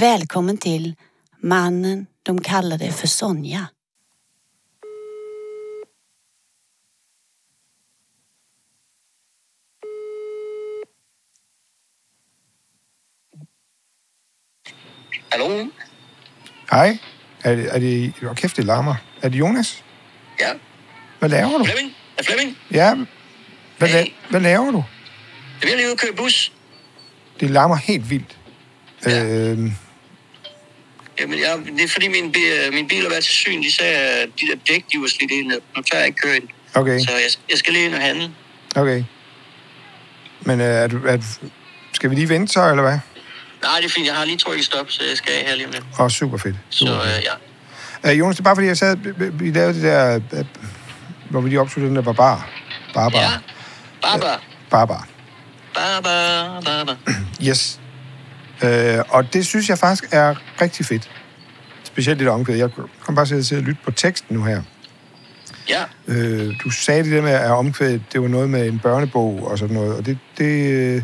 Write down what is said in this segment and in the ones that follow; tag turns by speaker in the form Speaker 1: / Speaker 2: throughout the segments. Speaker 1: Välkommen till mannen de kallade för Sonja.
Speaker 2: Hallo?
Speaker 3: Hej. Er det, er det... Hvor kæft, det larmer. Er det Jonas?
Speaker 2: Ja?
Speaker 3: Hvad laver du?
Speaker 2: Flemming? Er Flemming?
Speaker 3: Ja. Hvad, la- hvad laver du?
Speaker 2: Jeg vil lige ud og køre bus.
Speaker 3: Det larmer helt vildt.
Speaker 2: Ja.
Speaker 3: Øhm,
Speaker 2: Jamen, jeg, det er fordi min, bi- øh, min bil har været til syn. De sagde, at de der dæk, de var slidt ind. og Nu tør jeg ikke køre ind.
Speaker 3: okay,
Speaker 2: Så jeg, jeg skal lige ind og handle.
Speaker 3: okay. Men øh, er, du, er, du- skal vi lige vente så, eller hvad?
Speaker 2: Nej, det er fint. Jeg har lige trykket stop, så jeg skal af her lige om lidt.
Speaker 3: Åh, super fedt.
Speaker 2: Så
Speaker 3: Super
Speaker 2: øh,
Speaker 3: fedt.
Speaker 2: ja.
Speaker 3: Øh, Jonas, det er bare fordi, jeg sad... vi- vi- Vi lavede det der... øh, Hvor vi lige opsluttede den der barbar. Barbar.
Speaker 2: Ja. Baba.
Speaker 3: Barbar.
Speaker 2: Baba. Baba.
Speaker 3: Yes. Øh, og det synes jeg faktisk er rigtig fedt. Specielt det der omkvæd. Jeg kom bare til at sidde og lytte på teksten nu her.
Speaker 2: Ja.
Speaker 3: Øh, du sagde det der med at omkvædet, det var noget med en børnebog og sådan noget, og det, det, øh,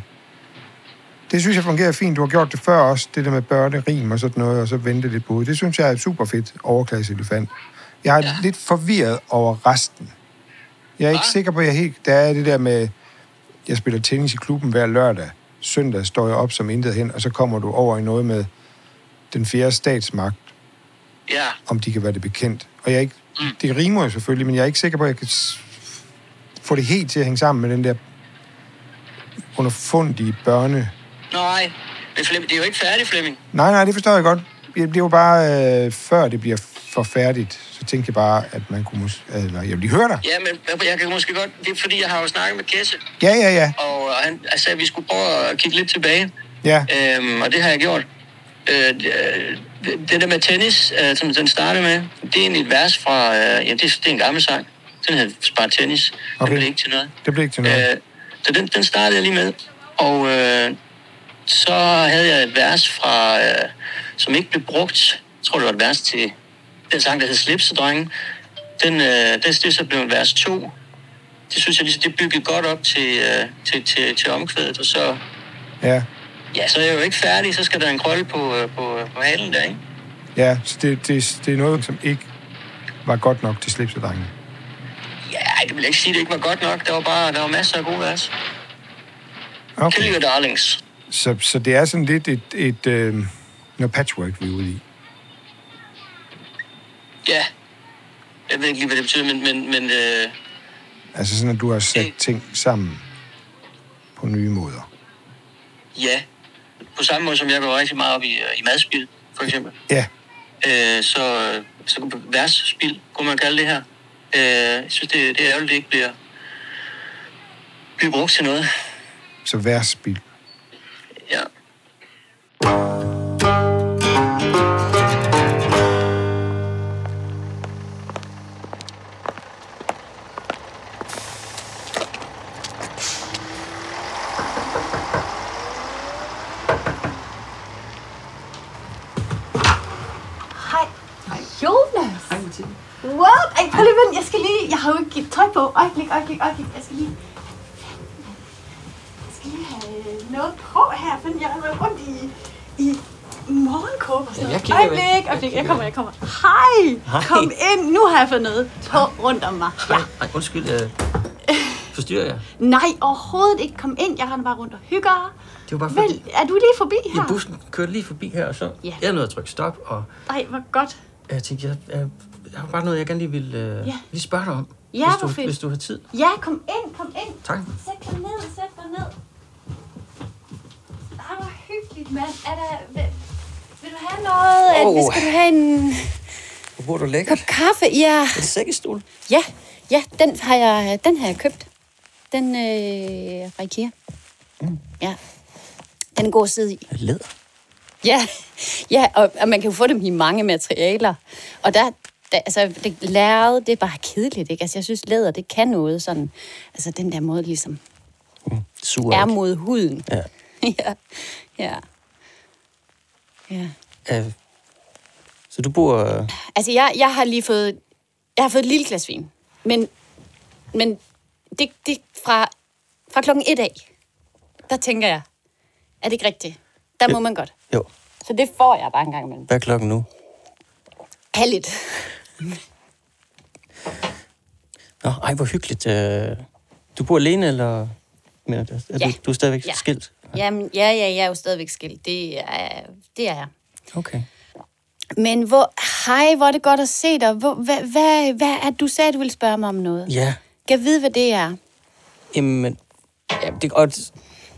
Speaker 3: det synes jeg fungerer fint. Du har gjort det før også, det der med børnerim og sådan noget, og så vente lidt på det. Det synes jeg er et super fedt overklasseelefant. Jeg er ja. lidt forvirret over resten. Jeg er ikke
Speaker 2: Hva?
Speaker 3: sikker på, at jeg helt... Der er det der med, jeg spiller tennis i klubben hver lørdag. Søndag står jeg op som intet hen, og så kommer du over i noget med den fjerde statsmagt,
Speaker 2: Ja.
Speaker 3: om de kan være det bekendt. Og jeg er ikke, det rimer jo selvfølgelig, men jeg er ikke sikker på, at jeg kan s- få det helt til at hænge sammen med den der underfundige børne...
Speaker 2: Nej. Men Flemming, det er jo ikke færdigt, Flemming.
Speaker 3: Nej, nej, det forstår jeg godt. Det det var bare, øh, før det bliver for færdigt, så tænkte jeg bare, at man kunne... Mås- eller, jeg vil lige høre dig.
Speaker 2: Ja, men jeg- jeg kan måske godt... Det er fordi, jeg har jo snakket med Kesse,
Speaker 3: Ja, ja, ja.
Speaker 2: og øh, han han sagde, at vi skulle prøve at kigge lidt tilbage.
Speaker 3: Ja,
Speaker 2: Øhm, og det har jeg gjort. Øh, øh, det der med tennis, øh, som den startede med, det er egentlig et vers fra, øh, ja, det, er- det er en gammel sang. Den hedder Spar Tennis.
Speaker 3: Okay.
Speaker 2: Den blev ikke til noget.
Speaker 3: det blev ikke til noget.
Speaker 2: Øh, så den, den startede jeg lige med. Og øh, så havde jeg et vers fra, øh, som ikke blev brugt. Jeg tror, det var et vers til den sang, der hed Slipsedrenge. Den, øh, den det er så blev vers 2. Det synes jeg ligesom, det byggede godt op til, øh, til, til, til omkvædet. Og så
Speaker 3: Ja,
Speaker 2: Ja, så er jeg jo ikke færdig, så skal der en krølle på, øh, på, øh, på halen der, ikke?
Speaker 3: ja. Så det, det, det er noget, som ikke var godt nok til slipsedrengen.
Speaker 2: Ja, ej, det vil jeg ikke sige, det ikke var godt nok. Der var bare der var masser af gode vers. Kill
Speaker 3: Okay.
Speaker 2: your darlings.
Speaker 3: Så, så det er sådan lidt et, et øh, noget patchwork, vi er ude i.
Speaker 2: Ja. Jeg ved ikke lige, hvad det betyder, men, men, men øh,
Speaker 3: Altså sådan, at du har sat ting sammen på nye måder.
Speaker 2: ja. På samme måde som jeg går rigtig meget op i, øh, i madspil, for eksempel.
Speaker 3: Ja,
Speaker 2: Øh, så, øh, så værtsspil, kunne man kalde det her. Øh, jeg synes, det, det er ærgerligt, det ikke bliver, bliver brugt til noget.
Speaker 3: så vær spild.
Speaker 2: Ja.
Speaker 4: Hej. Jonas. Hej, Mathilde. What? Ej, prøv lige at vent. Jeg skal lige... Jeg har jo ikke tøj på. Øjeblik, øjeblik, øjeblik. Jeg skal lige... Jeg skal lige have øh, noget på her, for jeg har været rundt i, i morgenkåb og sådan
Speaker 5: Ja, jeg
Speaker 4: noget.
Speaker 5: kigger med.
Speaker 4: øjeblik,
Speaker 5: Jeg
Speaker 4: øjeblik. Jeg
Speaker 5: kigger
Speaker 4: kommer, jeg kommer. Hej.
Speaker 5: Hej.
Speaker 4: Kom ind. Nu har jeg fået noget på rundt om mig. Ja.
Speaker 5: Nej, nej, undskyld. Øh, forstyrrer jeg?
Speaker 4: Nej, overhovedet ikke. Kom ind. Jeg render bare rundt og hygger.
Speaker 5: Det var bare
Speaker 4: Vel,
Speaker 5: fordi,
Speaker 4: er du lige forbi
Speaker 5: ja,
Speaker 4: her?
Speaker 5: bussen kørte lige forbi her, og så
Speaker 4: Ja.
Speaker 5: ja. jeg nåede at trykke stop, og
Speaker 4: Nej, hvor godt.
Speaker 5: jeg tænkte, jeg, jeg, jeg har bare noget, jeg gerne lige vil øh,
Speaker 4: Ja.
Speaker 5: ja. lige spørge dig om,
Speaker 4: Ja, hvor
Speaker 5: hvis, du,
Speaker 4: fedt.
Speaker 5: hvis du har tid.
Speaker 4: Ja, kom ind, kom ind.
Speaker 5: Tak.
Speaker 4: Sæt dig ned, sæt dig ned. Ej, hvor hyggeligt, mand. Er der... Vil, vil du have noget?
Speaker 1: At vi
Speaker 5: Åh.
Speaker 1: skal have en
Speaker 5: Hvor bor du
Speaker 1: kop
Speaker 5: lækkert?
Speaker 1: kaffe. Ja,
Speaker 5: En sækkestol.
Speaker 1: ja, ja den, har jeg, den har jeg købt. Den øh, fra Ikea. Ja. Den er god at sidde i.
Speaker 5: Mm. Læder.
Speaker 1: Ja, ja og, og man kan jo få dem i mange materialer. Og der, der altså, det lærred, det er bare kedeligt, ikke? Altså, jeg synes, læder, det kan noget sådan. Altså, den der måde ligesom
Speaker 5: Sur.
Speaker 1: er mod huden.
Speaker 5: Mm, Ja.
Speaker 1: ja. ja. ja.
Speaker 5: Øh, så du bor... Øh,
Speaker 1: Altså, jeg, jeg har lige fået... Jeg har fået et lille glas vin. Men, men det, det fra, fra klokken et af, der tænker jeg, er det ikke rigtigt? Der må man godt.
Speaker 5: jo.
Speaker 1: Så det får jeg bare en gang imellem.
Speaker 2: Hvad er klokken nu?
Speaker 1: Halligt.
Speaker 2: Nå, ej, hvor hyggeligt. Øh, Du bor alene, eller? Men er du,
Speaker 1: Ja.
Speaker 2: du er stadigvæk
Speaker 1: Ja.
Speaker 2: skilt?
Speaker 1: Jamen, ja, ja, jeg er jo stadigvæk skilt. Det er, det er jeg.
Speaker 2: Okay.
Speaker 1: Men hvor, hej, hvor er det godt at se dig. Hvor, hvad, hvad, hvad er du sagde, du ville spørge mig om noget?
Speaker 2: Ja,
Speaker 1: Kan jeg vide, hvad det er?
Speaker 2: Jamen, ja, det, og,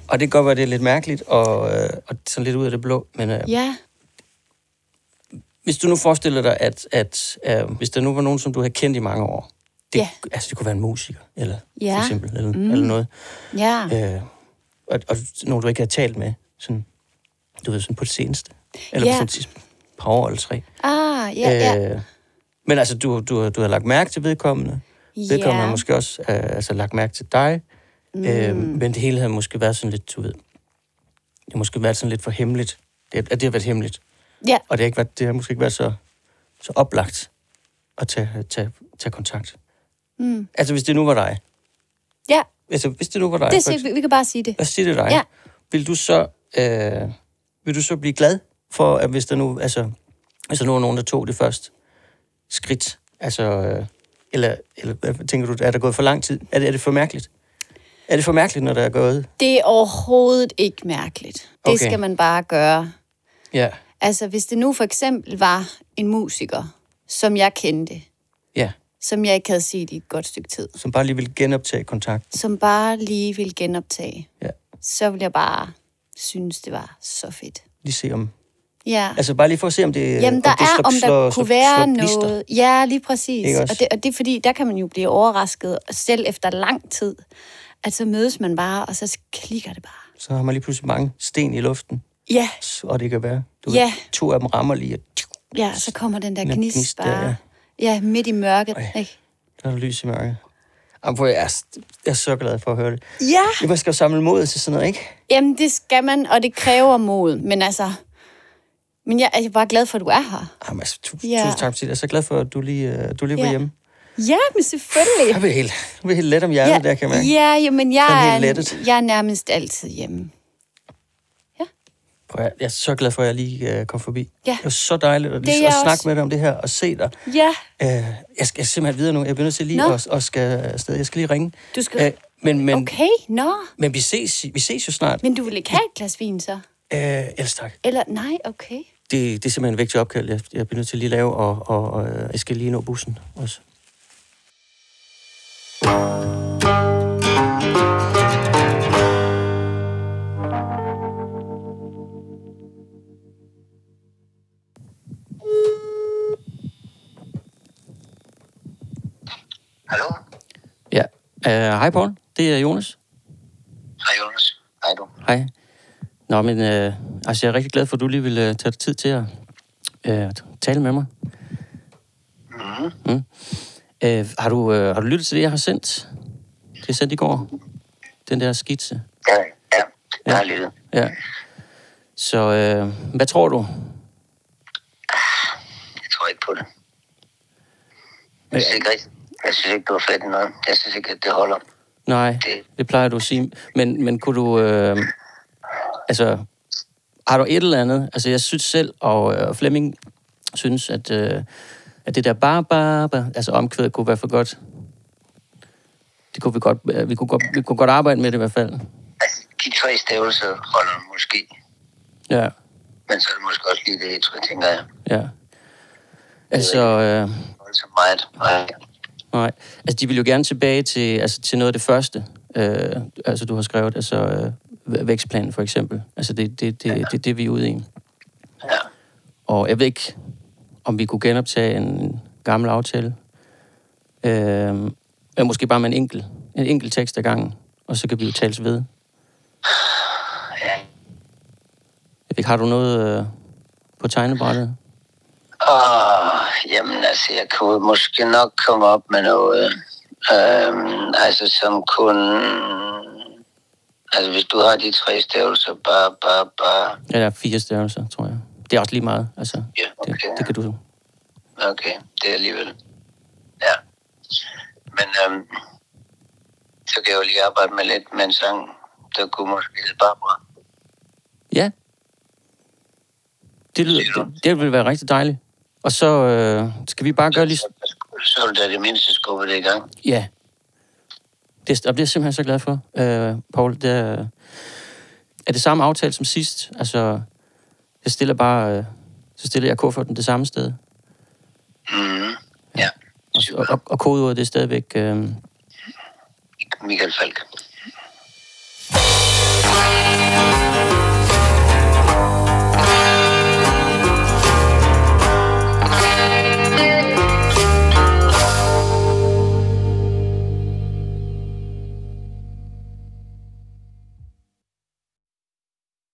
Speaker 2: og det kan godt være, det er lidt mærkeligt, og, øh, og sådan lidt ud af det blå, men øh, ja.
Speaker 1: Ja.
Speaker 2: hvis du nu forestiller dig, at, at øh, hvis der nu var nogen, som du havde kendt i mange år, det,
Speaker 1: Ja.
Speaker 2: altså, det kunne være en musiker, eller
Speaker 1: Ja.
Speaker 2: for eksempel, eller, mm. eller noget,
Speaker 1: Ja.
Speaker 2: øh, og, og nogen, du ikke havde talt med, sådan, du ved, sådan på det seneste, eller
Speaker 1: Ja.
Speaker 2: på sådan sidste par år eller tre.
Speaker 1: Ah, ja, ja.
Speaker 2: Øh, men altså, du, du, du har lagt mærke til vedkommende. Vedkommende
Speaker 1: Ja.
Speaker 2: har måske også øh, altså, lagt mærke til dig. Mm. Øh, men det hele havde måske været sådan lidt, du ved, det har måske været sådan lidt for hemmeligt. Det, at det har været hemmeligt.
Speaker 1: Ja,
Speaker 2: Og det har, ikke været, det har måske ikke været så, så oplagt at tage, tage, tage kontakt. Mm. Altså, hvis det nu var dig.
Speaker 1: ja.
Speaker 2: Altså, hvis det nu var dig.
Speaker 1: Det,
Speaker 2: for
Speaker 1: siger, vi, vi kan bare sige det.
Speaker 2: lad os sige det er dig.
Speaker 1: Ja.
Speaker 2: Vil du så, øh, vil du så blive glad for, at hvis der nu, altså, hvis der nu er nogen, der tog det første skridt, altså, øh, eller, eller hvad tænker du, er der gået for lang tid? Er det, er det for mærkeligt? Er det for mærkeligt, når der er gået?
Speaker 1: Det er overhovedet ikke mærkeligt. Det
Speaker 2: Okay.
Speaker 1: okay. skal man bare gøre.
Speaker 2: Ja.
Speaker 1: Altså, hvis det nu for eksempel var en musiker, som jeg kendte,
Speaker 2: Ja,
Speaker 1: som jeg ikke havde set i et godt stykke tid,
Speaker 2: som bare lige vil genoptage kontakt.
Speaker 1: som bare lige ville genoptage,
Speaker 2: Ja.
Speaker 1: så ville jeg bare synes, det var så fedt.
Speaker 2: Lige se om,
Speaker 1: Ja.
Speaker 2: altså bare lige for at se, om
Speaker 1: Jamen,
Speaker 2: det,
Speaker 1: der
Speaker 2: om det
Speaker 1: er,
Speaker 2: slår-
Speaker 1: om der
Speaker 2: slår-
Speaker 1: kunne
Speaker 2: slår-
Speaker 1: være
Speaker 2: slår gnister.
Speaker 1: noget. Ja, lige præcis.
Speaker 2: Ikke også?
Speaker 1: Og det, og det er fordi, der kan man jo blive overrasket, selv efter lang tid, at så mødes man bare, og så klikker det bare.
Speaker 2: Så har man lige pludselig mange sten i luften,
Speaker 1: Ja,
Speaker 2: og det kan være. Du
Speaker 1: Ja.
Speaker 2: to af dem rammer lige, og
Speaker 1: ja så kommer den der
Speaker 2: Den
Speaker 1: gnist,
Speaker 2: gnist der,
Speaker 1: bare. ja. midt i mørket.
Speaker 2: Ej.
Speaker 1: Ikke?
Speaker 2: der er der lys i mørket. Jamen, hvor jeg er, jeg er så glad for at høre det.
Speaker 1: Ja,
Speaker 2: Ja, man skal jo samle mod til sådan noget, ikke?
Speaker 1: jamen det skal man, og det kræver mod. Men altså, men jeg er bare glad for, at du er her.
Speaker 2: Jamen, altså, tu-
Speaker 1: Ja.
Speaker 2: tusind tak, fordi jeg er så glad for, at du lige, øh, du lige var
Speaker 1: Ja.
Speaker 2: hjemme.
Speaker 1: Ja, men selvfølgelig.
Speaker 2: Jeg blev helt, jeg blev helt let om hjertet, ja. der kan jeg mærke.
Speaker 1: ja jamen,
Speaker 2: Sådan
Speaker 1: jeg,
Speaker 2: helt
Speaker 1: er,
Speaker 2: lettet.
Speaker 1: jeg er nærmest altid hjemme.
Speaker 2: Prøv, at- jeg er så glad for, at jeg lige øh, kom forbi.
Speaker 1: Ja.
Speaker 2: Det var så dejligt at,
Speaker 1: er
Speaker 2: lige,
Speaker 1: jeg
Speaker 2: at snakke
Speaker 1: også.
Speaker 2: med dig om det her og se dig.
Speaker 1: Ja,
Speaker 2: Øh, jeg skal simpelthen videre nu. Jeg bliver nødt til lige
Speaker 1: Nå.
Speaker 2: at, at skal afsted. Jeg skal lige ringe. Øh,
Speaker 1: Du skal-
Speaker 2: men, men,
Speaker 1: okay, nå.
Speaker 2: men vi, ses, vi ses jo snart.
Speaker 1: Men du vil ikke have et glas vin, så?
Speaker 2: Øh, ellers tak.
Speaker 1: Eller, nej, okay.
Speaker 2: Det, det er simpelthen en vigtig opkald, jeg, jeg bliver nødt til lige at lave, og, og, og øh, jeg skal lige nå bussen også.
Speaker 6: Hallo?
Speaker 2: Ja. Øh, Hej, Paul. Det er Jonas.
Speaker 6: Hej, Jonas. Hej, du.
Speaker 2: Hej. Nå, men øh, altså, jeg er rigtig glad for, at du lige ville øh, tage dig tid til at øh, tale med mig. Mm. Mm. Øh, har, du, øh, har du lyttet til det, jeg har sendt? Det er sendt i går. Den der skitse.
Speaker 6: Ja, ja. Jeg har lyttet.
Speaker 2: Ja. Så øh, hvad tror du?
Speaker 6: Jeg tror ikke på det. Jeg synes ikke rigtigt. Jeg synes ikke, du har fat i noget. Jeg synes ikke, at det holder.
Speaker 2: Nej, det plejer du at sige. Men, men kunne du... Øh, altså, har du et eller andet? Altså, jeg synes selv, og øh, Flemming synes, at, øh, at det der bare, bare, bare altså omkvædet kunne være for godt. Det kunne vi godt, øh, vi kunne godt, vi kunne godt arbejde med det i hvert fald.
Speaker 6: Altså, de tre stavelser holder måske.
Speaker 2: Ja,
Speaker 6: Men så er det måske også lige det, jeg tænker jeg.
Speaker 2: ja. Altså, øh,
Speaker 6: Så meget. Nej.
Speaker 2: nej. Altså, de vil jo gerne tilbage til, altså, til noget af det første, øh, altså, du har skrevet, altså øh, væ- vækstplanen for eksempel. Altså, det det, det, det, det, er det, vi er ude i.
Speaker 6: Ja.
Speaker 2: Og jeg ved ikke, om vi kunne genoptage en gammel aftale. Øh, eller måske bare med en enkelt, en enkelt tekst ad gangen, og så kan vi jo tales ved.
Speaker 6: ja.
Speaker 2: Jeg ved ikke, har du noget øh, på tegnebrættet?
Speaker 6: Åh, jamen altså, jeg kunne måske nok komme op med noget. Øhm, altså, som kunne... Altså, hvis du har de tre stavelser, bare, bare, bare...
Speaker 2: Ja, der er fire størrelser, tror jeg. Det er også lige meget. Altså,
Speaker 6: Ja, okay,
Speaker 2: det, det kan du...
Speaker 6: Okay, det er alligevel. Ja. Men øhm, så kan jeg jo lige arbejde med lidt med en sang, der kunne måske hedde Barbara.
Speaker 2: Ja.
Speaker 5: Det, lyder, det, det vil være rigtig dejligt. Og så øh, skal vi bare gøre lige...
Speaker 6: Så er du da det mindste skubbe det i gang.
Speaker 5: Ja. Det, og det er jeg simpelthen så glad for, øh, Paul. Det er, er det samme aftale som sidst. Altså, jeg stiller bare... Øh, så stiller jeg kufferten det samme sted.
Speaker 6: Mm. Ja.
Speaker 5: Og, og, og, og kodeordet det er stadigvæk... Øh,
Speaker 6: Michael Falk.